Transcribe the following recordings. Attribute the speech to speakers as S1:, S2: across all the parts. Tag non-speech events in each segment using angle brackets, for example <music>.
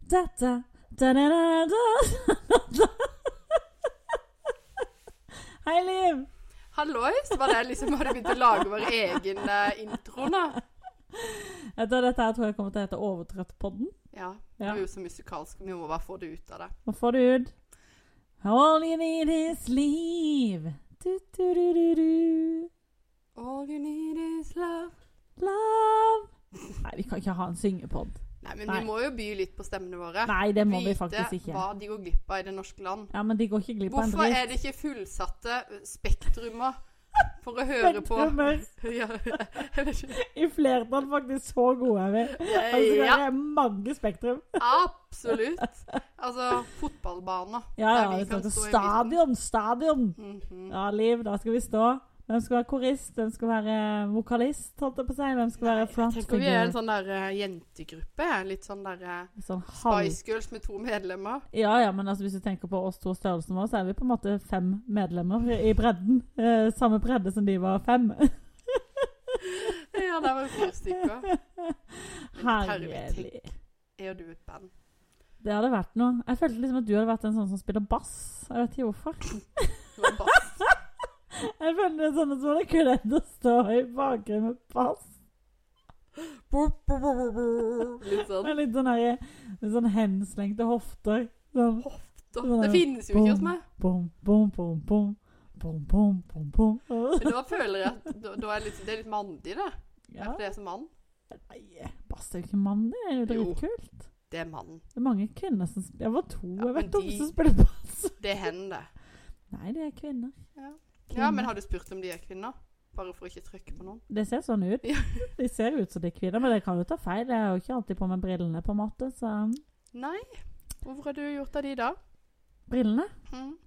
S1: da, da, da, da, da, da, da, da. Hei, Liv.
S2: Hallois! Var det liksom Hadde vi begynt å lage vår egen eh, intro nå?
S1: Jeg tror dette her tror jeg kommer til å hete Overtrøttpodden.
S2: Ja. Det
S1: Ja.
S2: var jo så musikalsk. Vi må bare få det ut av det.
S1: Nå får du ut All you need is leave. Du, du, du, du, du.
S2: All you need is love.
S1: Love. Nei, vi kan ikke ha en syngepod.
S2: Nei, men
S1: Nei.
S2: vi må jo by litt på stemmene våre.
S1: Nei, det må vi faktisk
S2: Vite hva
S1: ikke.
S2: de går glipp av i det norske land.
S1: Ja, Men de går ikke glipp av en
S2: Hvorfor
S1: dritt.
S2: er det ikke fullsatte spektrumer for å høre på <laughs>
S1: <laughs>
S2: ja, jeg vet ikke.
S1: I flertall faktisk så gode er vi. Altså,
S2: Eh, ja,
S1: Det er mange spektrum.
S2: absolutt. Altså, fotballbaner.
S1: Ja, ja,
S2: Der vi
S1: vi
S2: kan
S1: snakker
S2: stå i
S1: stadion, stadion.
S2: Mhm.
S1: Ja, Liv, da skal vi stå. Hvem skal være korist? Hvem skal være vokalist, holdt jeg på å si? Hvem skal være
S2: Nei,
S1: front
S2: Jeg tenker vi er en
S1: figure?
S2: sånn der eh, jentegruppe. Litt sånn der eh,
S1: Sånn halv...
S2: Spice Girls med to medlemmer. <laughs>
S1: Ja, ja, men altså, hvis du tenker på oss to størrelsen vår, så er vi på en måte fem medlemmer i bredden. Eh, samme bredde som de var fem. <laughs>
S2: Ja, der var det fire stykker.
S1: Herlig.
S2: Er jo du et band?
S1: Det hadde vært noe. Jeg følte liksom at du hadde vært en sånn som spiller bass. Jeg vet ikke hvorfor.
S2: Du var bass.
S1: Jeg følte det er sånne som hadde kledd å stå i bakgrunnen med bass.
S2: Litt sånn.
S1: Med litt sånn her, med sånn henslengte hofter. Sånn
S2: Da, det finnes jo ikke hos meg.
S1: bom, bom, bom, bom. Bom, bom, bom, bom.
S2: Men da føler jeg at da, da er litt, det er litt mandig, det.
S1: Ja.
S2: Det er som mann.
S1: Nei, bass er jo ikke mann, det er jo
S2: Jo.
S1: dritkult.
S2: Det er mann.
S1: Det er mange kvinner som spiller Jeg var to,
S2: Ja,
S1: jeg
S2: men
S1: vet om
S2: de-
S1: som spiller bass.
S2: Det er hen, det.
S1: Nei, det er kvinner.
S2: Ja.
S1: Kvinner.
S2: Ja, men har du spurt om de er kvinner? Bare for å ikke trykke på noen.
S1: Det ser sånn ut.
S2: Ja.
S1: De ser ut som de er kvinner, men det kan jo ta feil. Jeg har jo ikke alltid på meg brillene, på en måte, så
S2: Nei. Hvorfor har du gjort av de da?
S1: Brillene?
S2: Hm?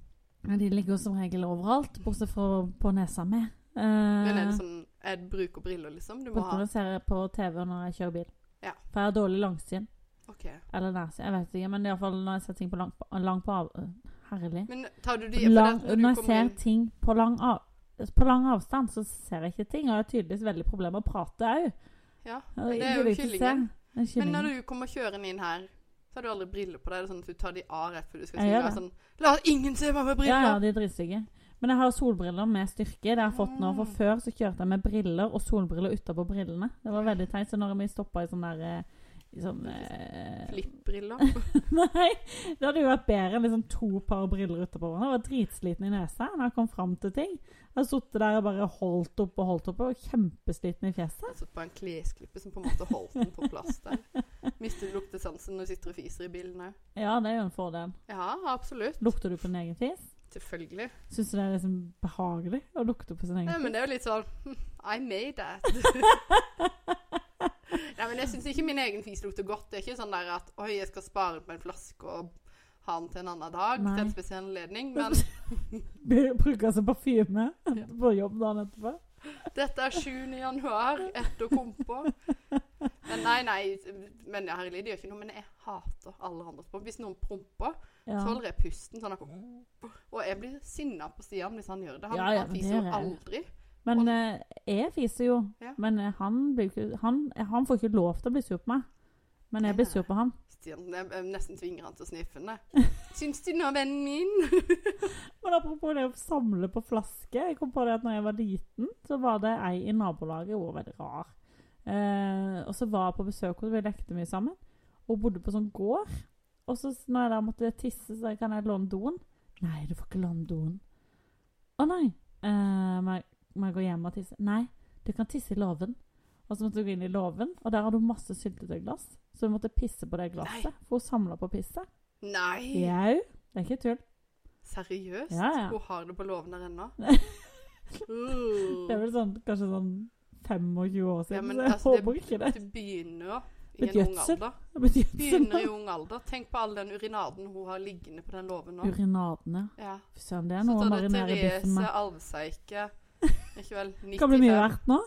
S1: Ja, De ligger jo som regel overalt, bortsett fra på nesa mi.
S2: Men er
S1: Eh,
S2: det sånn Jeg bruker briller, liksom? Du må ha
S1: Brukerne ser jeg på TV når jeg kjører bil.
S2: Ja.
S1: For jeg har dårlig langsyn.
S2: OK.
S1: Eller nærsyn, jeg vet ikke. Men i alle fall når jeg ser ting på lang, på- lang på av... øh, Herlig.
S2: Men tar du de for
S1: Lang,
S2: det at
S1: når
S2: når
S1: jeg
S2: du kommer
S1: ser
S2: inn
S1: ting på lang, av, på lang avstand, så ser jeg ikke ting. Og jeg har tydeligvis veldig problemer med å prate òg.
S2: Ja. Det er jo kyllingen. Men når du kommer kjørende inn her, så har du aldri briller på deg. Det er sånn at du tar de av rett før du skal
S1: Jeg
S2: synge.
S1: gjør
S2: og er Sånn, La ingen se meg med
S1: Ja, ja,
S2: briller!
S1: de er dritstygge. Men jeg har solbriller med styrke. Det har jeg fått nå. For
S2: Mm.
S1: før så kjørte jeg med briller og solbriller utapå brillene. Det var veldig teit. Så når vi stoppa i sånn der eh, i sånn, eh,
S2: Flippbriller.
S1: <laughs> Nei, det hadde jo vært bedre enn liksom to par briller utapå hverandre. Jeg var dritsliten i nesa når jeg kom fram til ting. Jeg har sittet der og bare holdt opp og holdt opp, og kjempesliten i fjeset.
S2: Jeg satt på en klesklippe som på en måte holdt den på plass der. Mister du luktesansen når du sitter og fiser i bilen òg?
S1: Ja, det er jo en fordel.
S2: Ja, absolutt.
S1: Lukter du på din egen fis?
S2: Selvfølgelig.
S1: Syns du det er liksom behagelig å lukte på sin egen
S2: Nei,
S1: fis?
S2: men det er jo litt sånn hm, I
S1: <laughs>
S2: made that. Nei, men jeg syns ikke min egen fis lukter godt. Det er ikke sånn der at oi, jeg skal spare på en flaske og ha den til en annen dag.
S1: Nei.
S2: Til en spesiell anledning. Men
S1: <laughs> Bruker som parfyme
S2: Ja.
S1: <laughs> på jobb dagen etterpå?
S2: Dette er 7. januar, etter kompo. Men nei, nei, men herlig, det gjør ikke noe. Men jeg hater alle andre som promper. Hvis noen promper,
S1: Ja.
S2: så holder jeg pusten sånn. at- Og jeg blir sinna på Stian hvis han gjør det. Han,
S1: Ja, ja,
S2: han
S1: men det
S2: fiser
S1: gjør
S2: jo
S1: jeg.
S2: aldri.
S1: Men
S2: Og-
S1: eh, jeg fiser jo.
S2: Ja.
S1: Men eh, han, blir jo ikke, han, han får ikke lov til å bli sur på meg. Men jeg
S2: Nei,
S1: blir sur på han.
S2: Stian, jeg, jeg nesten tvinger han til å sniffe den. jeg. Syns du nå, vennen min?
S1: Men apropos det å samle på flaske. Jeg kom på det at når jeg var liten, så var det ei i nabolaget hun var veldig rar. Eh, og så var jeg på besøk hos henne, vi lekte mye sammen. Hun bodde på sånn gård. Og så s- når jeg da måtte tisse, så kan jeg låne doen. Nei, du får ikke låne doen. Å nei. Eh, må, jeg, må jeg gå hjem og tisse? Nei, du kan tisse i låven. Og så måtte hun gå inn i låven, og der hadde hun masse syltetøyglass. Så hun måtte pisse på det glasset, for hun samla på pisset.
S2: Nei!
S1: Jau, det er ikke tull.
S2: Seriøst?
S1: Ja, ja.
S2: Hun har det på låven der
S1: <laughs>
S2: ennå?
S1: Det er
S2: Uh.
S1: vel sånn, kanskje sånn 25 år siden,
S2: Ja, men
S1: så jeg
S2: altså, det-
S1: håper ikke det.
S2: Du begynner jo i
S1: Litt
S2: en ung
S1: gjødsel.
S2: alder.
S1: Det blir gjødsel.
S2: Begynner i ung alder. Tenk på all den urinaden hun har liggende på den låven nå.
S1: Urinadene.
S2: Ja.
S1: Fy søren, det er
S2: Så
S1: noe å
S2: tar det
S1: marinere biffen
S2: Therese
S1: med.
S2: Alvseike
S1: <laughs>
S2: Ikke vel? 95.
S1: Kan bli mye verdt nå.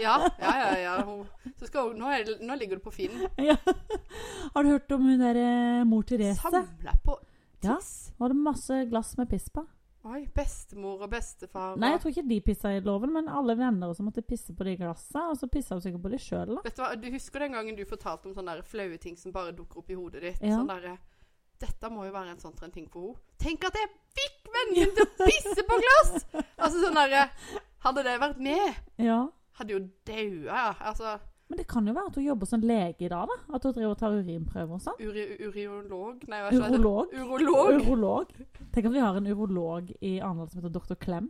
S2: Ja, ja, ja. ja. Hun, så skal hun, nå, er, det- nå ligger du på Finn.
S1: Ja. Har du hørt om hun der eh, mor Therese?
S2: Samla på
S1: Ja.
S2: tiss.
S1: Hun hadde masse glass med piss på.
S2: Oi, bestemor og bestefar og
S1: Nei, jeg tror ikke de pissa i låven, men alle venner som måtte pisse på de glassene. Og så pissa hun sikkert på de sjøl, da.
S2: Vet du hva, du husker den gangen du fortalte om sånne der flaue ting som bare dukker opp i hodet ditt?
S1: Ja.
S2: Sånn derre Dette må jo være en sånn trend ting for henne. Tenk at jeg fikk vennen min til å pisse på glass! Altså sånn derre Hadde det vært med,
S1: Ja.
S2: hadde jo daua, ja. Altså
S1: Men det kan jo være at hun jobber som lege i dag, da. At hun driver og tar urinprøver og sånn.
S2: uri, uriolog Nei, hva heter det?
S1: Urolog.
S2: Urolog.
S1: Urolog. Tenk at vi har en urolog i Arendal som heter Dr. Klem.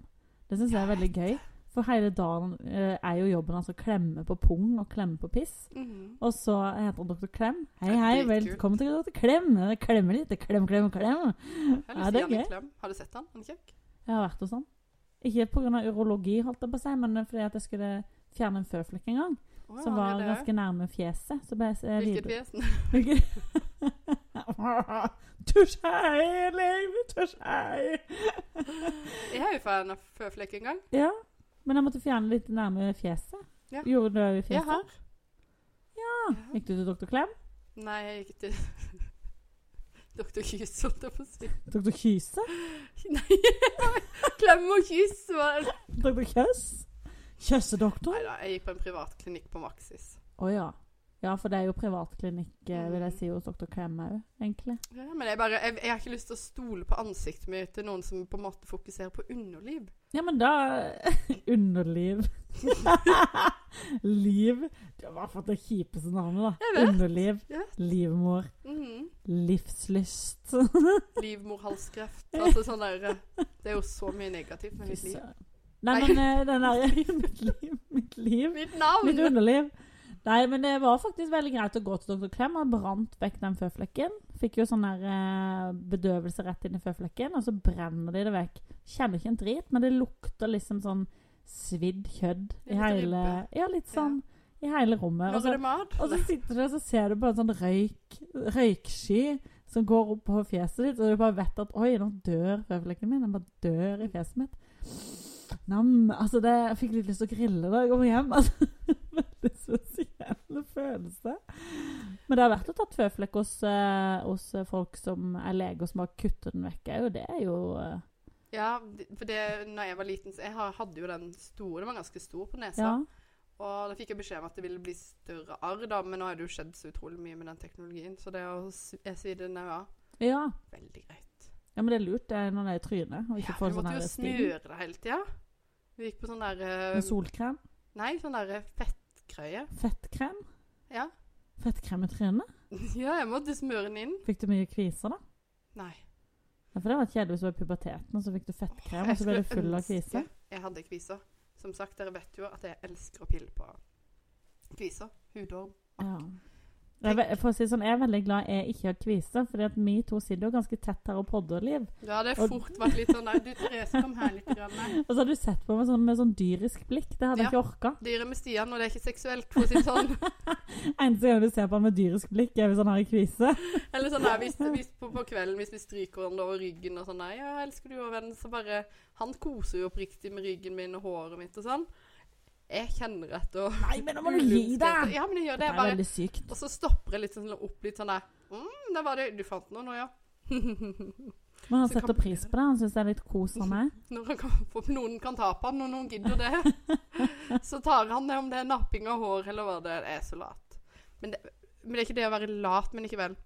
S1: Det syns jeg er veldig gøy. For hele dagen eh, er jo jobben hans å klemme på pung og klemme på piss.
S2: Mhm.
S1: Og så heter han Dr. Klem. Hei,
S2: Det er
S1: hei,
S2: dritkult.
S1: velkommen til Dr. Klem. Eh, Klemme litt. Klem, klem, klem.
S2: Jeg
S1: Ja, det er
S2: har lyst til å gi han
S1: gøy.
S2: en klem. Har du sett han? Han er kjekk.
S1: Jeg har vært hos han. Ikke pga. urologi, holdt jeg på å si, men fordi at jeg skulle fjerne en føflekk en gang.
S2: Å, ja,
S1: som
S2: han
S1: var
S2: er det.
S1: ganske nærme fjeset. Så ble jeg eh,
S2: Hvilket
S1: videre- <laughs>
S2: fjes?
S1: Hvilket Tusj hei, Leiv! Tusj hei!
S2: <laughs> Jeg er jo fra en føflekk en gang.
S1: Ja. Men jeg måtte fjerne litt nærme fjeset.
S2: Ja.
S1: Gjorde du det i
S2: Jeg
S1: fjeset?
S2: har. Ja.
S1: Gikk du til doktor Klem?
S2: Nei, jeg gikk til <laughs> Doktor Kys, holdt jeg på å si. <laughs>
S1: Doktor Kyse?
S2: Nei, <laughs> klem og kyss var
S1: Doktor Kjøss? Kjøssedoktor?
S2: Nei da, jeg gikk på en privatklinikk på Maxis.
S1: Å ja. Ja, for det er jo privatklinikk, eh,
S2: Mm.
S1: vil jeg si, hos doktor Klem òg, egentlig.
S2: Ja, men jeg, bare, jeg, jeg har ikke lyst til å stole på ansiktet mitt til noen som på en måte fokuserer på underliv.
S1: Ja, men da <laughs>
S2: <laughs>
S1: Underliv. Liv. Du har bare fått det kjipeste navnet, da.
S2: Jeg vet.
S1: Underliv.
S2: Jeg
S1: Livmor.
S2: Mhm.
S1: Livslyst.
S2: Livmorhalskreft. Altså sånn der eh, Det er jo så mye negativt med mitt liv.
S1: Nei,
S2: Nei.
S1: men eh, den
S2: <laughs>
S1: der Mitt liv. <laughs> Mitt liv.
S2: Mitt
S1: Mitt
S2: navn!
S1: underliv. Nei, men det var faktisk veldig greit å gå til Dr. Klem. Han brant vekk den føflekken. Fikk jo sånn der eh, bedøvelse rett inn i føflekken, og så brenner de det vekk. Kjenner ikke en drit, men det lukter liksom sånn svidd kjødd i
S2: Litt
S1: hele
S2: ribbe.
S1: Ja, litt sånn i hele rommet. Og
S2: Når er
S1: så,
S2: det mat?
S1: og så sitter du og så ser du bare en sånn røyk, røyksky som går opp på fjeset ditt, og du bare vet at Oi, nå dør føflekken min. Den bare dør i fjeset mitt. Nam, altså det, Jeg fikk litt lyst til å grille da jeg kom hjem. <laughs> Altså, veldig spesiell følelse. Men det har vært å tatt føflekk hos, eh, hos folk som er leger, som har kuttet den vekk òg. Det er jo eh,
S2: Ja, for det, når jeg var liten, så jeg har- hadde jo den store. Den var ganske stor på nesa.
S1: Ja.
S2: Og da fikk jeg beskjed om at det ville bli større arr, da. Men nå har det jo skjedd så utrolig mye med den teknologien. Så det å s- jeg svidde den òg
S1: ja.
S2: veldig greit.
S1: Ja, men det er lurt det er når det er i trynet. Og
S2: Ja,
S1: ikke
S2: vi
S1: får sånn
S2: måtte jo eh,
S1: her sting.
S2: smøre det hele tida. Vi gikk på sånn der eh,
S1: Med solkrem.
S2: Nei, sånn der fettgreie.
S1: Fettkrem.
S2: Ja. <laughs>
S1: Fettkrem i trynet.
S2: ja, jeg måtte smøre den inn.
S1: Fikk du mye kviser, da?
S2: Nei.
S1: Ja, for det hadde vært kjedelig hvis du var i puberteten, og så fikk du fettkrem, og så ble
S2: skulle
S1: du full av
S2: ønske
S1: kviser.
S2: Jeg hadde kviser. Som sagt, dere vet jo at jeg elsker å pille på kviser. Hudorm.
S1: Ja. Jeg, ve- for å si det sånn, jeg er veldig glad jeg ikke har kvise, fordi at vi to sitter jo ganske tett her og podder, Liv.
S2: Ja, det
S1: Og-
S2: har fort vært litt sånn der Du, Therese, kom her litt. Grann, nei.
S1: Og så har du sett på meg sånn, med sånn dyrisk blikk. Det hadde jeg ikke orka.
S2: Dyret med Stian, og det er ikke seksuelt, for å si det sånn. <laughs>
S1: Eneste gang du ser på han med dyrisk blikk, er hvis han har en kvise.
S2: Eller sånn der, hvis, hvis på, på kvelden hvis vi stryker hverandre over ryggen og sånn Nei, ja, elsker du og venn, så bare Han koser jo oppriktig med ryggen min og håret mitt og sånn. Jeg kjenner etter
S1: Nei, men nå må du gi deg!
S2: Ja, men jeg gjør
S1: Det
S2: det.
S1: er
S2: Jeg bare
S1: veldig sykt.
S2: Og så stopper jeg litt sånn opp litt sånn der mm, der var det Du fant noe nå, ja? <laughs>
S1: Men han
S2: Så
S1: setter
S2: kan-
S1: pris på det. Han syns det er litt kos han er.
S2: Når han kan, for noen kan ta på han, og noen gidder det. Så tar han det om det er napping av hår eller hva det er. Jeg er så lat. Men det, men det er ikke det å være lat, men likevel.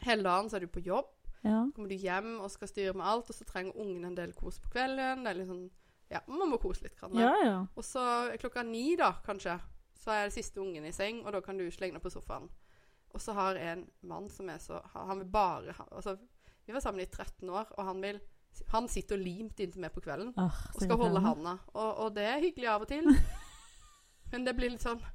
S2: Hele dagen så er du på jobb.
S1: Ja.
S2: kommer du hjem og skal styre med alt, og så trenger ungen en del kos på kvelden. Det er litt sånn, ja, Man må kose litt. Kan
S1: ja, ja.
S2: Og så klokka ni, da, kanskje, så er det siste ungen i seng, og da kan du slenge deg på sofaen. Og så har jeg en mann som er så Han han vil bare ha altså, Vi var sammen i 13 år, og han vil Han sitter limt inntil meg på kvelden
S1: Åh, så
S2: og skal holde
S1: irriterende.
S2: handa. Og, og det er hyggelig av
S1: <laughs>
S2: og til. Men det blir litt sånn <laughs>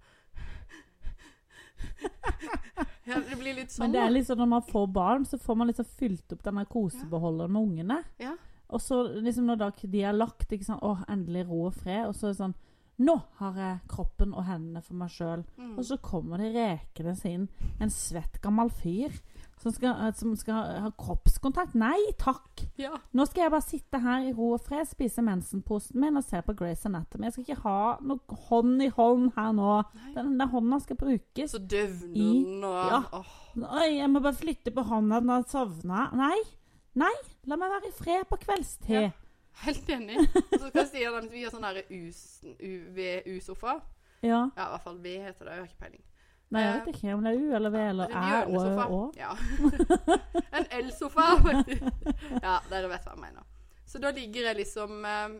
S2: Ja, det blir litt sånn.
S1: Men det
S2: da.
S1: er liksom når man får barn, så får man liksom fylt opp denne kosebeholderen med ungene.
S2: Ja.
S1: Og så liksom når da de er lagt, ikke sant, åh, endelig ro og fred, og så er det sånn nå har jeg kroppen og hendene for meg sjøl.
S2: Mm.
S1: Og så kommer det rekende inn en svett gammel fyr som skal, eh, som skal ha kroppskontakt. Nei takk!
S2: Ja.
S1: Nå skal jeg bare sitte her i ro og fred, spise mensenposen min og se på Grace Anatomy. Jeg skal ikke ha noe hånd i hånd her nå.
S2: Nei.
S1: Den der hånda skal brukes.
S2: Så døvner
S1: I-
S2: den og
S1: Ja.
S2: Åh,
S1: Oi, jeg må bare flytte på hånda, den har sovna. Nei. La meg være i fred på kveldste.
S2: Ja. Helt
S1: <laughs>
S2: enig. Og så skal Stian ha vi har sånn derre UV-sofa.
S1: Ja.
S2: Ja, i hvert fall V heter det. Jeg har ikke peiling.
S1: Nei, jeg
S2: Eh,
S1: vet ikke om det er U eller V eller
S2: En
S1: Æ og Ø
S2: hjørnesofa.
S1: og Å.
S2: Ja. <laughs> en elsofa, faktisk. Ja, dere vet hva jeg mener. Så da ligger jeg liksom eh,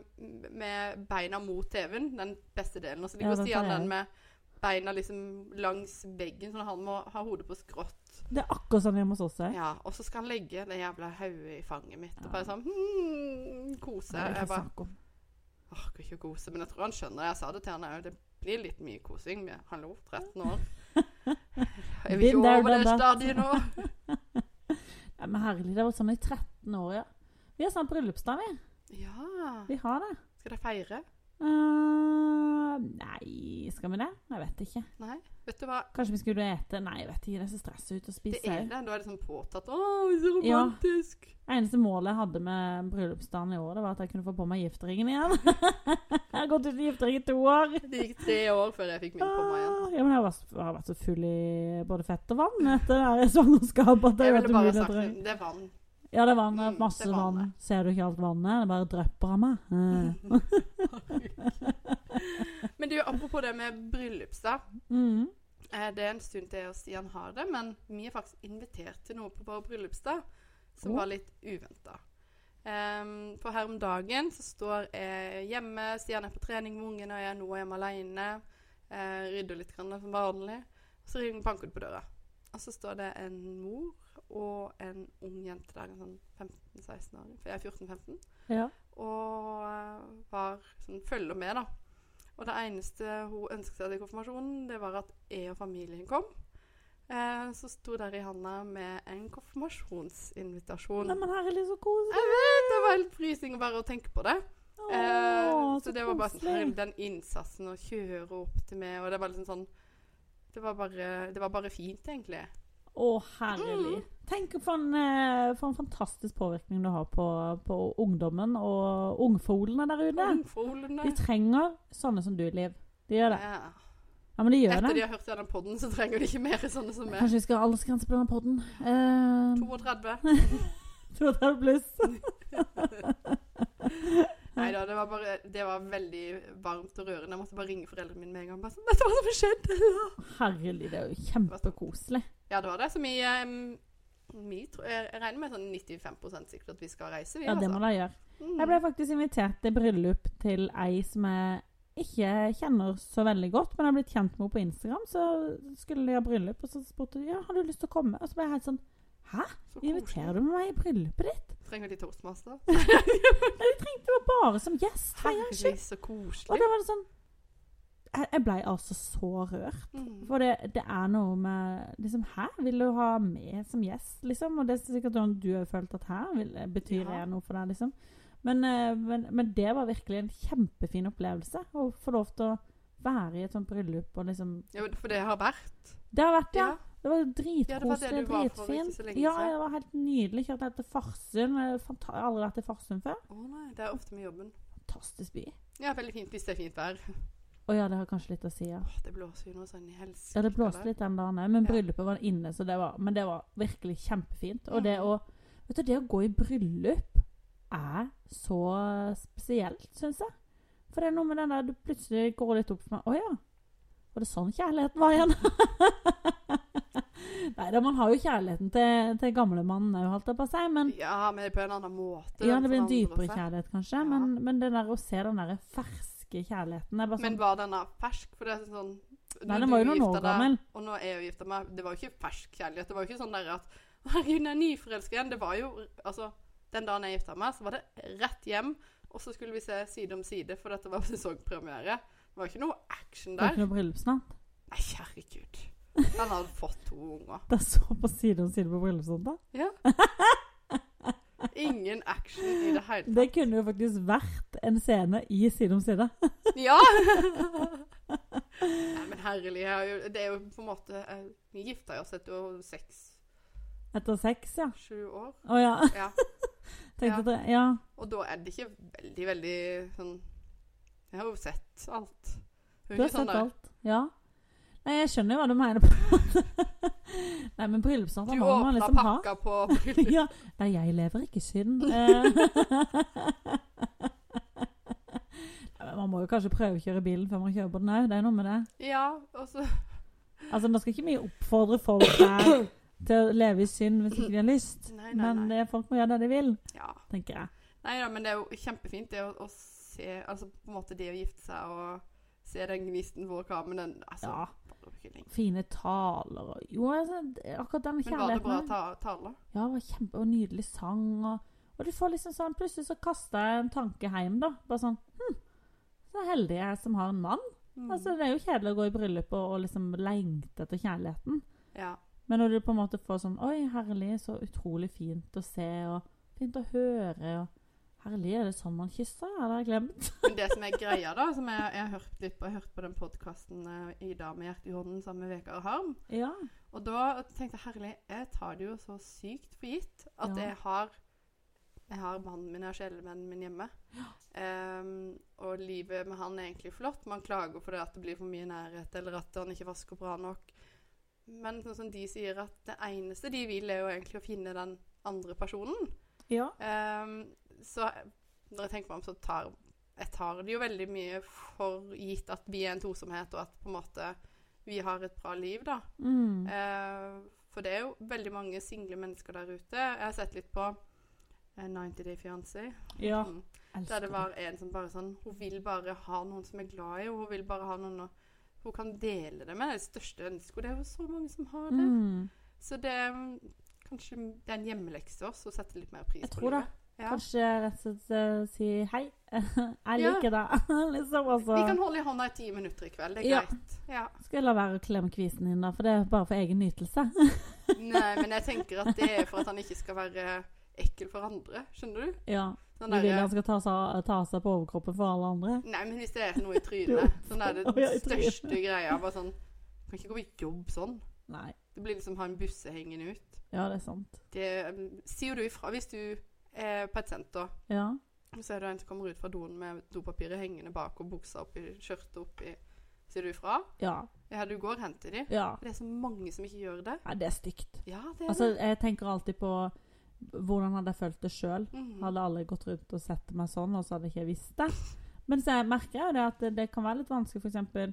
S2: med beina mot TV-en, den beste delen. Og så
S1: Ja,
S2: ligger
S1: den
S2: Stian
S1: pleier jeg.
S2: den med beina liksom langs veggen, sånn at han må ha hodet på skrått.
S1: Det er akkurat sånn hjemme hos oss òg.
S2: Ja, og så skal han legge det jævla hodet i fanget mitt
S1: Ja.
S2: og bare sånn hmm, kose. Jeg bare orker ikke å kose, men jeg tror han skjønner det. Jeg sa det til han òg. Det blir litt mye kosing. men Hallo, 13
S1: <laughs>
S2: år. Jeg vil
S1: Been
S2: ikke
S1: there,
S2: over det
S1: done that.
S2: stadiet nå.
S1: Ja, men herlig, det har vært sånn i 13 år, ja. Vi har snart bryllupsdag, vi.
S2: Ja.
S1: Vi har det.
S2: Skal dere feire?
S1: Eh, nei, skal vi det? Jeg vet ikke.
S2: Nei. Vet du hva?
S1: Kanskje vi skulle ete? Nei, jeg vet ikke. Det ser stress ut å
S2: Det
S1: spise
S2: er
S1: òg.
S2: det. Da er det sånn påtatt. Å, så
S1: Ja.
S2: romantisk!
S1: Eneste målet jeg hadde med bryllupsdagen i år, det var at jeg kunne få på meg gifteringen igjen. <laughs> jeg har gått uten giftering i to år.
S2: Det gikk tre år før jeg fikk min på meg igjen.
S1: Ah, Ja, men jeg har vært, jeg har vært så full i både fett og vann etter det her <laughs> svangerskapet at det
S2: Jeg
S1: er
S2: ville
S1: helt
S2: bare
S1: umulig å
S2: sagt
S1: dra
S2: det er vann.
S1: Ja, det er vann.
S2: Mm,
S1: Masse
S2: det er vann,
S1: vann. Ser du ikke alt vannet? Det bare drypper av meg.
S2: <laughs>
S1: Eh.
S2: Men du, apropos det med bryllupsdag.
S1: Mm.
S2: Eh, Det er en stund til jeg og Stian har det, men vi er faktisk invitert til noe på vår bryllupsdag som
S1: Å.
S2: var litt uventa. for her om dagen så står jeg hjemme, Stian er på trening med ungene, og jeg er nå hjemme aleine. Eh, rydder litt grann som vanlig. Og så ringer banker det på døra. Og så står det en mor og en ung jente der, en sånn 15-16 år, for jeg er 14-15
S1: Ja.
S2: og eh, var sånn, følger med, da. Og det eneste hun ønsket seg til konfirmasjonen, det var at jeg og familien kom. Eh, så sto der i handa med en konfirmasjonsinvitasjon.
S1: Nei, men herlig, så koselig.
S2: Jeg vet, det var helt frysing bare å tenke på det.
S1: Åh,
S2: Eh, så
S1: så
S2: det var bare sånn,
S1: koselig.
S2: herregud, den innsatsen å kjøre opp til meg, og det var liksom sånn det var, bare, det var bare fint, egentlig.
S1: Å,
S2: Mm.
S1: herlig. Tenk for en, eh, for en fantastisk påvirkning du har på, på ungdommen og ungfolene der ute.
S2: Mm, Ungfolene.
S1: De trenger sånne som du, Liv. De gjør det.
S2: Ja.
S1: Ja, men de gjør
S2: Etter de
S1: det.
S2: har hørt denne podden, så trenger de ikke mer sånne som
S1: <laughs>
S2: meg.
S1: Kanskje vi skal ha aldersgrense på denne podden. Eh,
S2: 32.
S1: 32 pluss.
S2: Nei da, det var bare Det var veldig varmt og rørende. Jeg måtte bare ringe foreldrene mine med en gang. Bare sånn, Vet du hva som har skjedd?
S1: Herlig, det er jo kjempekoselig.
S2: Ja, det var det. Så vi, ehm, vi tror, jeg, jeg regner med sånn 95 sikkert at vi skal reise, vi.
S1: Ja, det må de gjøre.
S2: Mm.
S1: Jeg ble faktisk invitert til bryllup til ei som jeg ikke kjenner så veldig godt, men jeg har blitt kjent med henne på Instagram. Så skulle de ha bryllup, og så spurte de ja, har du lyst til å komme. Og så ble jeg helt sånn
S2: Så koselig.
S1: Inviterer du meg i bryllupet ditt?
S2: Trenger de
S1: <laughs>
S2: toastmaster?
S1: Nei, de trengte meg bare som gjest. for jeg er ikke-
S2: Herregud, så
S1: Og
S2: koselig.
S1: da var det sånn Jeg, jeg blei altså så rørt.
S2: Mm.
S1: For det, det er noe med liksom, Hæ? Vil du ha meg som gjest? Liksom? Og det er sikkert noe du har følt at her vil, betyr
S2: Ja.
S1: jeg noe for deg, liksom. Men, eh, men, men det var virkelig en kjempefin opplevelse. Å få lov til å være i et sånt bryllup og liksom
S2: Ja, for det har vært.
S1: Det har vært, ja.
S2: Ja.
S1: Det var
S2: Ja, det var det
S1: dritkoselig,
S2: du var for ikke
S1: dritfint.
S2: så lenge
S1: Ja,
S2: siden.
S1: det var helt nydelig. Kjørt helt til Farsund. Jeg fanta- Jeg har aldri vært i Farsund før.
S2: Å nei, det er ofte med jobben.
S1: Fantastisk by.
S2: Ja, veldig fint hvis det er fint vær.
S1: Å ja, det har kanskje litt å si, ja.
S2: Åh, det blåser jo noe sånn i helsike.
S1: Ja, det blåste litt den dagen òg, men
S2: Ja.
S1: bryllupet var inne, så det var, men det var virkelig kjempefint. Og det
S2: Mhm.
S1: å Vet du, det å gå i bryllup er så spesielt, syns jeg. For det er noe med den der du plutselig går litt opp for meg Å ja. Var det sånn kjærligheten var igjen? <laughs> Nei da, man har jo kjærligheten til, til gamlemannen òg, holdt jeg på å si. Men
S2: Ja, men på en annen måte.
S1: ja,
S2: den
S1: det blir en
S2: forandrer
S1: dypere
S2: seg.
S1: kjærlighet, kanskje.
S2: altså. Ja.
S1: Men, men det der å se den der ferske kjærligheten det er bare sånn,
S2: Men var denne fersk? For det er sånn
S1: Nei,
S2: når
S1: den var jo
S2: du
S1: noen år
S2: gifter deg,
S1: gammel.
S2: Og nå er jeg jo gifta meg. Det var jo ikke fersk kjærlighet. Det var jo ikke sånn der at <laughs> «Å, Herregud, jeg er nyforelska igjen. Det var jo Altså, den dagen jeg gifta meg, så var det rett hjem, og så skulle vi se Side om side, for dette var <laughs> sesongpremiere. Det var ikke noe action
S1: Det er <laughs>
S2: der.
S1: ikke noe bryllupsnatt.
S2: Nei, herregud. Han hadde fått to unger.
S1: Det er så på side om side på bryllupsnatta.
S2: Ja. Ingen action i det hele tatt.
S1: Det kunne jo faktisk vært en scene i Side om side.
S2: Ja! Nei, men herlig. Jeg har jo, det er jo på en måte eh, Vi gifta oss etter jo seks-sju
S1: Etter sex, ja.
S2: år.
S1: Å ja.
S2: Ja.
S1: <laughs> Tenkte at det, ja.
S2: Og da er det ikke veldig, veldig sånn Jeg har jo sett alt. Hun
S1: Du
S2: er
S1: har
S2: ikke sånn
S1: sett
S2: der
S1: alt. Ja. Nei, jeg skjønner jo hva du mener. på en måte. <laughs> Nei, men bryllupsnatt
S2: Du
S1: da må man
S2: åpna
S1: liksom ha.
S2: pakka på bryllup.
S1: <laughs> ja. Nei, jeg lever ikke i synd. <laughs> Eh. Nei, men man må jo kanskje prøve å kjøre bilen før man kjører på den òg. Det er noe med det.
S2: Ja, og så
S1: Altså, Nå skal ikke vi oppfordre folk her til å leve i synd hvis ikke de har lyst.
S2: <clears throat> Nei, nei,
S1: Men
S2: nei.
S1: eh, folk må gjøre det de vil,
S2: Ja.
S1: tenker jeg.
S2: Nei da, men det er jo kjempefint det å, å se Altså på en måte det å gifte seg og se den gnisten hvor kamen den Altså,
S1: Ja.
S2: bare kylling.
S1: Fine taler og Jo, altså, det- akkurat den
S2: Men var det bra
S1: kjærligheten.
S2: ta tale?
S1: Ja, det var kjempe og nydelig sang. Og, og du får liksom sånn Plutselig så kaster jeg en tanke hjem, da. Bare sånn Hm, så heldig jeg er som har en mann.
S2: Mm.
S1: Altså, Det er jo kjedelig å gå i bryllup og, og liksom lengte etter kjærligheten.
S2: ja.
S1: Men når du på en måte får sånn Oi, herlig, så utrolig fint å se, og fint å høre. og Herlig, er det sånn man kysser? Ja, det har jeg glemt.
S2: Men det som er greia, da, som jeg, jeg har hørt litt på, jeg har hørt på den podkasten Ida med hjertet i hånden sammen med Vegard Harm
S1: Ja.
S2: Og da tenkte jeg herlig, jeg tar det jo så sykt for gitt at
S1: Ja.
S2: jeg har jeg har mannen min, jeg har sjelevennen min hjemme. Ehm, og livet med han er egentlig flott. Man klager på det at det blir for mye nærhet, eller at han ikke vasker bra nok. Men sånn som de sier, at det eneste de vil, er jo egentlig å finne den andre personen.
S1: ja.
S2: Ehm, så når jeg tenker meg om, så tar jeg tar det jo veldig mye for gitt at vi er en tosomhet, og at på en måte vi har et bra liv, da.
S1: Mm.
S2: Eh, for det er jo veldig mange single mennesker der ute. Jeg har sett litt på eh, 90 Day Fiancé.
S1: ja.
S2: Mm. Der
S1: Elsker
S2: det var en som bare sånn Hun vil bare ha noen som er glad i henne. Hun vil bare ha noen å- hun kan dele det med. Det er det største ønsket. Og det er jo så mange som har det.
S1: Mm.
S2: Så det er mm, kanskje det er en hjemmelekse også, å sette litt mer pris
S1: Jeg
S2: på
S1: tror det.
S2: Ja.
S1: Kanskje rett og slett eh, si hei. <laughs> jeg
S2: Ja.
S1: liker deg, <laughs> liksom. Og så
S2: Vi kan holde i hånda i ti minutter i kveld. Det er
S1: Ja.
S2: greit. Ja.
S1: skal jeg la være å klemme kvisen din, da, for det er bare for egen nytelse. <laughs>
S2: Nei, men jeg tenker at det er for at han ikke skal være ekkel for andre. Skjønner du?
S1: ja.
S2: Sånn
S1: Du vil
S2: derre-
S1: han skal ta seg, ta seg på overkroppen for alle andre?
S2: Nei, men hvis det er noe i
S1: Jo.
S2: trynet Sånn er
S1: Å, ja,
S2: det
S1: i trynet.
S2: største greia. Bare sånn Kan ikke gå på jobb sånn.
S1: Nei.
S2: Det blir liksom ha en busse hengende ut.
S1: Ja, det er sant.
S2: Det um, sier jo du ifra hvis du er på et senter.
S1: Ja.
S2: Så er det en som kommer ut fra doen med dopapiret hengende bak og buksa oppi skjørtet oppi. Sier du ifra?
S1: Ja.
S2: Ja, du går og henter de.
S1: ja.
S2: Det er så mange som ikke gjør det.
S1: Nei, det er stygt.
S2: Ja, det er
S1: Altså, jeg tenker alltid på hvordan hadde jeg følt det sjøl.
S2: det. Mhm.
S1: Hadde alle gått rundt og sett meg sånn, og så hadde ikke jeg visst det. Men så jeg merker jeg jo det at det, det kan være litt vanskelig f.eks.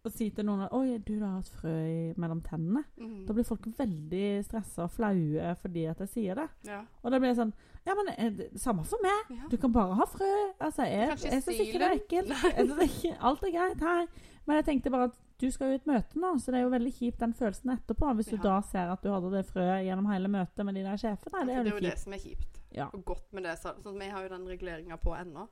S1: å si til noen at 'Oi, du, du har et frø i- mellom tennene'.
S2: Mhm.
S1: Da blir folk veldig stressa og flaue fordi at jeg sier det.
S2: Ja.
S1: Og da blir jeg sånn Ja, men eh, det- samme for meg.
S2: ja.
S1: Du kan bare ha frø. Altså, jeg,
S2: Kanskje
S1: jeg syns ikke det er
S2: stilen?
S1: ekkelt. Jeg synes ikke, alt er greit her. Men jeg tenkte bare at du skal jo i et møte nå, så det er jo veldig kjipt den følelsen etterpå. Hvis du
S2: Ja.
S1: da ser at du hadde det frøet gjennom hele møtet med de der sjefene. Det
S2: For
S1: er
S2: det
S1: jo
S2: er jo
S1: litt
S2: det
S1: kjipt.
S2: som er kjipt.
S1: Ja.
S2: Og godt med det. så- Sånn, vi har jo den reguleringa på ennå.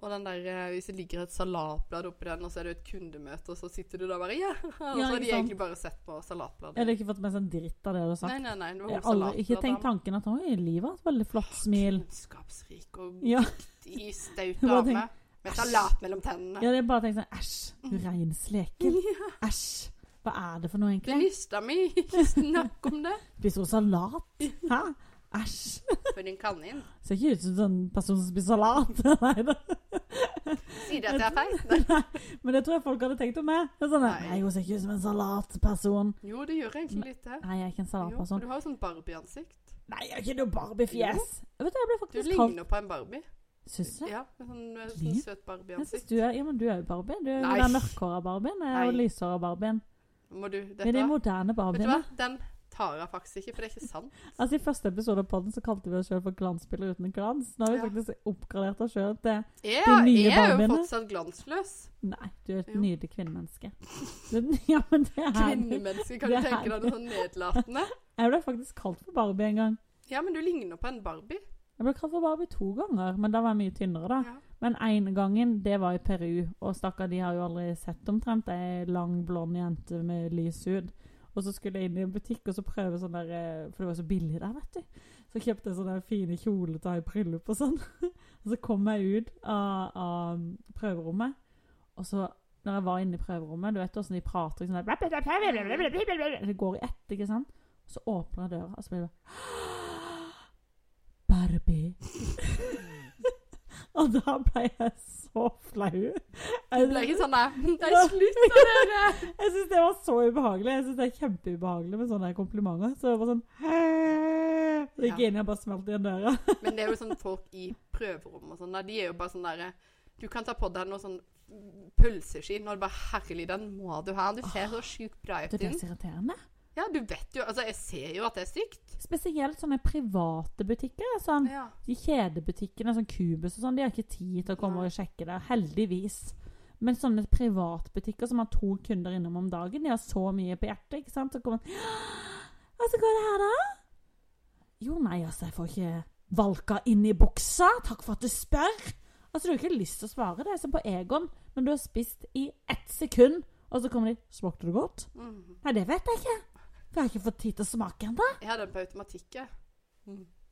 S2: Og den der, eh, hvis det ligger et salatblad oppi den, og så er det et kundemøte, og så sitter du der bare Ja! <laughs> Og så har
S1: ikke
S2: de
S1: sant.
S2: egentlig bare sett på salatbladet.
S1: Jeg hadde ikke fått med seg en dritt av det du har
S2: Nei,
S1: sagt.
S2: nei, nei. Det var
S1: Jeg
S2: jo
S1: har aldri, ikke tenkt
S2: salatbladet.
S1: tanken at Oi, livet har et veldig flott smil.
S2: Kunnskapsrik og
S1: Ja, <laughs>
S2: i staut
S1: Bare tenk,
S2: dame. Med
S1: æsj.
S2: salat mellom tennene. <laughs>
S1: ja det er bare å tenke sånn Æsj,
S2: Mm.
S1: du reinsleken. Æsj. Hva er det for noe,
S2: Det
S1: egentlig?
S2: nysta mi. Ikke snakk
S1: <laughs>
S2: om det.
S1: Spiser hun salat? Hæ? Æsj.
S2: For en kanin.
S1: Ser ikke ut som en sånn person som spiser salat. <laughs> Nei da.
S2: Si det at jeg er feit. Nei.
S1: Men det tror jeg folk hadde tenkt om meg. Det er Sånn,
S2: Nei.
S1: nei, hun ser ikke ut som en salatperson.
S2: Jo, det gjør egentlig litt det.
S1: Nei, jeg er ikke en
S2: Jo, for
S1: salatperson.
S2: du har jo sånn Barbie-ansikt.
S1: Nei, jeg er ikke noe Barbie-fjes. Vet du, jeg ble
S2: Du
S1: faktisk kalt
S2: ligner på en Barbie.
S1: Syns jeg?
S2: Ja, med sånn, eh, sånn
S1: Liv?
S2: søt
S1: Jeg synes
S2: Barbie-ansikt.
S1: du er, ja, men du er jo Barbie. Du er
S2: Nei.
S1: jo den mørkhåra Barbien jeg er jo
S2: Nei.
S1: lyshåra Barbien.
S2: Må du,
S1: Men de
S2: dette,
S1: moderne
S2: vet du hva?
S1: Barbiene
S2: Den tar jeg faktisk ikke, for det er ikke sant.
S1: Altså I første episode av podden så kalte vi oss sjøl for glansspillere uten glans. Nå har vi
S2: Ja.
S1: faktisk oppgradert oss sjøl til
S2: Jeg,
S1: De nye
S2: jeg er jo
S1: Barbiene.
S2: fortsatt glansløs.
S1: Nei, du er et
S2: Jo.
S1: nydelig kvinnemenneske. <laughs> Du- Ja, men det er du.
S2: Kvinnemenneske, kan du
S1: Det er
S2: tenke deg noe sånn nedlatende?
S1: Jeg ble faktisk kalt for Barbie en gang.
S2: Ja, men du ligner på en Barbie.
S1: Jeg ble kalt for Barbie to ganger, men da var jeg mye tynnere, da.
S2: Ja.
S1: Men en gangen, det var i Peru. Og stakkar, de har jo aldri sett omtrent ei lang, blond jente med lys hud. Og så skulle jeg inn i en butikk og så prøve sånn der eh, For det var så billig der, vet du. Så kjøpte jeg sånne der fine kjoler til å ha i bryllup og sånn. Og så kom jeg ut av, av prøverommet, og så når jeg var inne i prøverommet Du vet åssen de prater ikke sånn der Det går i ett, ikke sant? Så åpner jeg døra, og så blir det <laughs> bare Barbie. Og da ble jeg så flau.
S2: Hun ble ikke
S1: <laughs>
S2: sånn nei, nei,
S1: Ja.
S2: slutt da, dere!
S1: <laughs> Jeg syns det var så ubehagelig. Jeg synes Det er kjempeubehagelig med sånne komplimenter. Så det var sånn «Hæ?» Så gikk jeg inn og bare smalt igjen døra.
S2: Men det er jo sånn folk i prøverom og sånn, der, de er jo bare sånn derre Du kan ta på deg noe sånn pølseski når du bare Herlig, den må du ha. Du ser så sjukt bra ut
S1: Det er
S2: i
S1: det
S2: den.
S1: som er irriterende.
S2: Ja, du vet jo Altså, jeg ser jo at det er stygt.
S1: Spesielt sånne private butikker. Sånn,
S2: Ja.
S1: de kjedebutikkene, sånn Cubus og sånn, de har ikke tid til å komme
S2: Nei.
S1: og sjekke det. Heldigvis. Men sånne privatbutikker som har to kunder innom om dagen, de har så mye på hjertet, ikke sant? Så kommer man Altså, hva er det her, da? Jo, nei, altså, jeg får ikke valka inn i buksa. Takk for at du spør. Altså, du har ikke lyst til å svare. Det er som på Egon, når du har spist i ett sekund, og så kommer de 'Smakte det godt?'
S2: Mm.
S1: Nei, det vet jeg ikke. For jeg har ikke fått tid til å smake ennå.
S2: Jeg hadde den på automatikk, jeg.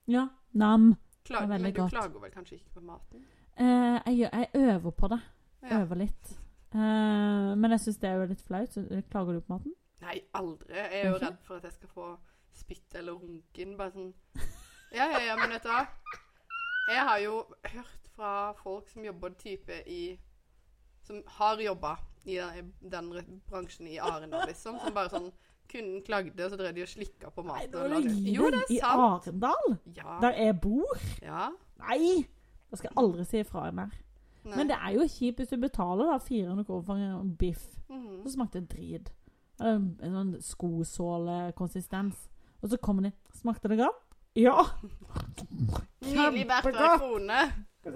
S1: Ja. Nam.
S2: Klager,
S1: Det er veldig
S2: men du
S1: godt.
S2: klager vel kanskje ikke på maten?
S1: Eh, jeg, gjør- jeg øver på det.
S2: Ja.
S1: Øver litt. Eh, men jeg syns det er jo litt flaut. Så klager du på maten?
S2: Nei, aldri. Jeg er jo
S1: Ikke?
S2: redd for at jeg skal få spytt eller runken. Bare sånn Ja, ja, ja, men vet du hva? Jeg har jo hørt fra folk som jobber type i Som har jobba i den, i den re- bransjen i Arendal, liksom. Som bare sånn Kunden klagde, og så drev de og slikka på maten. og la det- jo, det er
S1: I
S2: sant.
S1: Arendal,
S2: Ja.
S1: der jeg bor?
S2: ja.
S1: Nei! Da skal jeg aldri si ifra mer.
S2: Nei.
S1: Men det er jo kjipt hvis du betaler da 400 kroner for en biff.
S2: Mhm.
S1: Så smakte det drit. Eh, En sånn skosålekonsistens. Og så kommer de Smakte det godt? Ja!
S2: Nylig verdt hver
S1: Kjempegodt.
S2: krone.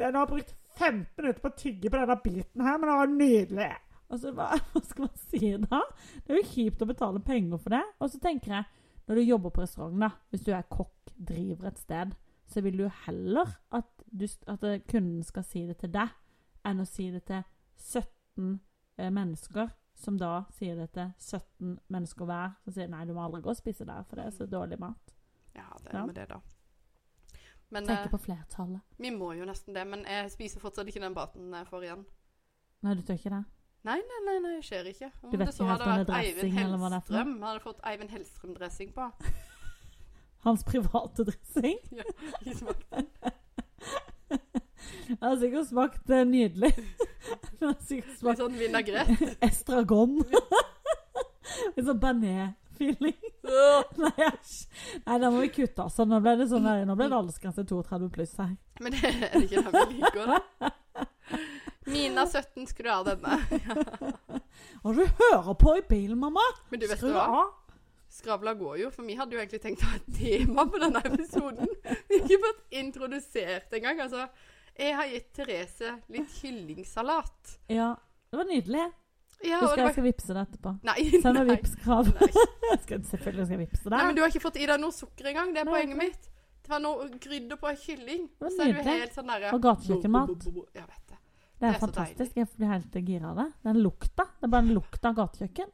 S1: Jeg har brukt 15 minutter på å tygge på denne biten her, men det var nydelig. Altså, hva, <laughs> hva skal man si da? Det er jo kjipt å betale penger for det. Og så tenker jeg, når du jobber på restaurant, da, hvis du er kokk, driver et sted, så vil du heller at, du, at eh, kunden skal si det til deg, enn å si det til 17 eh, mennesker, som da sier det til 17 mennesker hver, som sier nei, du må aldri gå og spise der, for det er så dårlig mat.
S2: Ja, det
S1: Ja.
S2: er med det, da. Men eh,
S1: Tenker på flertallet.
S2: vi må jo nesten det. Men jeg spiser fortsatt ikke den maten jeg får igjen.
S1: Nei, du tør ikke det?
S2: Nei, nei, det skjer ikke. Om
S1: Du vet
S2: det så
S1: ikke helt
S2: hadde
S1: om
S2: vært
S1: det er dressing,
S2: Eivind
S1: eller hva det er for noe?
S2: Hellstrøm. Han hadde fått Eivind
S1: <laughs>
S2: Hellstrøm-dressing på.
S1: Hans <laughs> private dressing? Jeg har sikkert smakt eh,
S2: <laughs>
S1: nydelig. Jeg har sikkert
S2: Litt
S1: smakt
S2: sånn vinagrett.
S1: estragon.
S2: <laughs>
S1: Litt sånn bearnés-feeling. <laughs> Nei, æsj. Nei, da må vi kutte, altså. Nå ble det, sånn, der- nå ble det aldersgrense 32 pluss her.
S2: Men det er det ikke den vi liker, da. Mina 17 skulle ha denne.
S1: Og du hører på i bilen, mamma!
S2: Men du vet
S1: Skru
S2: du hva?
S1: av!
S2: Skravla går jo, for vi hadde jo egentlig tenkt å ha et tema på denne episoden. Vi har ikke fått introdusert engang. Altså, jeg har gitt Therese litt kyllingsalat.
S1: Ja, det var nydelig.
S2: Ja,
S1: Husker jeg,
S2: og det
S1: jeg
S2: var
S1: skal vippse det etterpå.
S2: <laughs> Nei,
S1: Send meg
S2: nei.
S1: vippskrav. <laughs>
S2: nei.
S1: Jeg skal- Selvfølgelig skal jeg vippse
S2: Nei, men
S1: det.
S2: du har ikke fått i deg noe sukker engang. Det er
S1: Nei,
S2: poenget
S1: nei.
S2: mitt. Det var noe krydder på en kylling.
S1: var
S2: Og så er du
S1: nydelig.
S2: helt sånn derre
S1: Og gatekjøkkenmat.
S2: Ja, vet det.
S1: Det
S2: det er
S1: er
S2: så
S1: fantastisk. Jeg blir helt gira av det. Den lukta. Det er bare den lukta av gatekjøkken.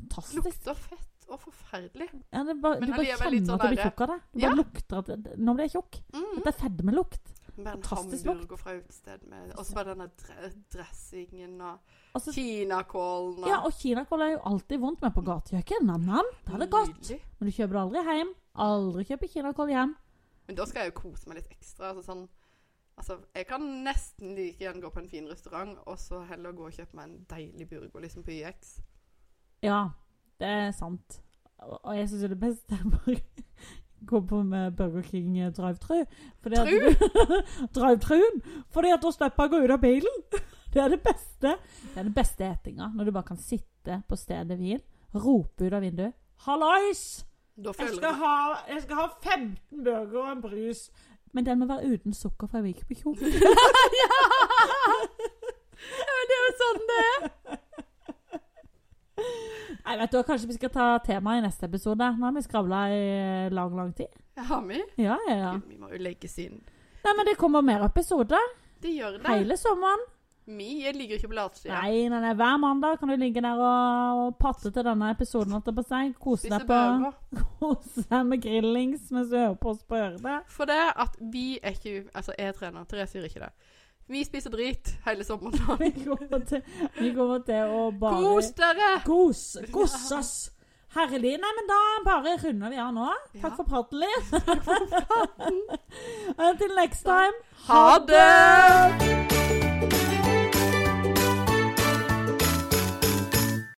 S1: Fantastisk.
S2: Lukter fett og forferdelig.
S1: Ja, det er bare,
S2: Men
S1: du bare
S2: allikevel
S1: kjenner
S2: litt sånn
S1: at du blir
S2: der-
S1: tjukk av det. Du bare lukter at det, Nå blir jeg tjukk.
S2: Mm.
S1: Det er fedmelukt.
S2: Bare en
S1: fantastisk
S2: hamburger fra utested med Og så bare denne dre- dressingen og
S1: Og så-
S2: kinakålen og
S1: ja, og kinakål er jo alltid vondt, men på gatekjøkken nam-nam, da er det godt.
S2: Nydelig.
S1: Men du kjøper det aldri hjem. Aldri kjøper kinakål hjem.
S2: Men da skal jeg jo kose meg litt ekstra. Altså sånn Altså, jeg kan nesten like gjerne gå på en fin restaurant, og så heller gå og kjøpe meg en deilig burger liksom på YX.
S1: Ja, det er sant. Og og jeg syns jo det beste er bare <laughs> gå på med Burger King eh, drive-tru. Fordi at <laughs> du- Drive-truen! Fordi at da slipper jeg å gå ut av bilen. <laughs> Det er det beste. Det er den beste etinga. Når du bare kan sitte på stedet hvil, rope ut av vinduet 'Hallais!'
S2: Da føler jeg
S1: ha, 15 burger og en brus. Men den må være uten sukker, for jeg vil ikke på <laughs> kjole.
S2: ja!
S1: <laughs>
S2: ja! Men det er jo sånn det er.
S1: Nei, vet du, hva, Kanskje vi skal ta temaet i neste episode. Nå har vi skravla i lang, lang tid.
S2: Har vi?
S1: Ja, ja, ja.
S2: Gud, Vi må jo legges inn.
S1: Nei, men det kommer mer episoder
S2: Det gjør det.
S1: hele sommeren.
S2: Vi jeg ligger ikke på latsida.
S1: Nei, nei, nei, hver mandag kan du ligge der og, og patte til denne episoden. holdt jeg på å si. Kose
S2: Spise
S1: deg på, <laughs>
S2: burger.
S1: kose deg med grillings mens du hører på oss på ørene.
S2: For det at vi er ikke Altså, jeg trener, Therese gjør ikke det. Vi spiser drit hele sommeren.
S1: Vi kommer til, vi kommer til å bare
S2: Kos dere!
S1: Kos, kos oss. Herlig. Nei, men da bare runder vi av nå. Takk for praten, Liv. <laughs> Until next time.
S2: Ha det!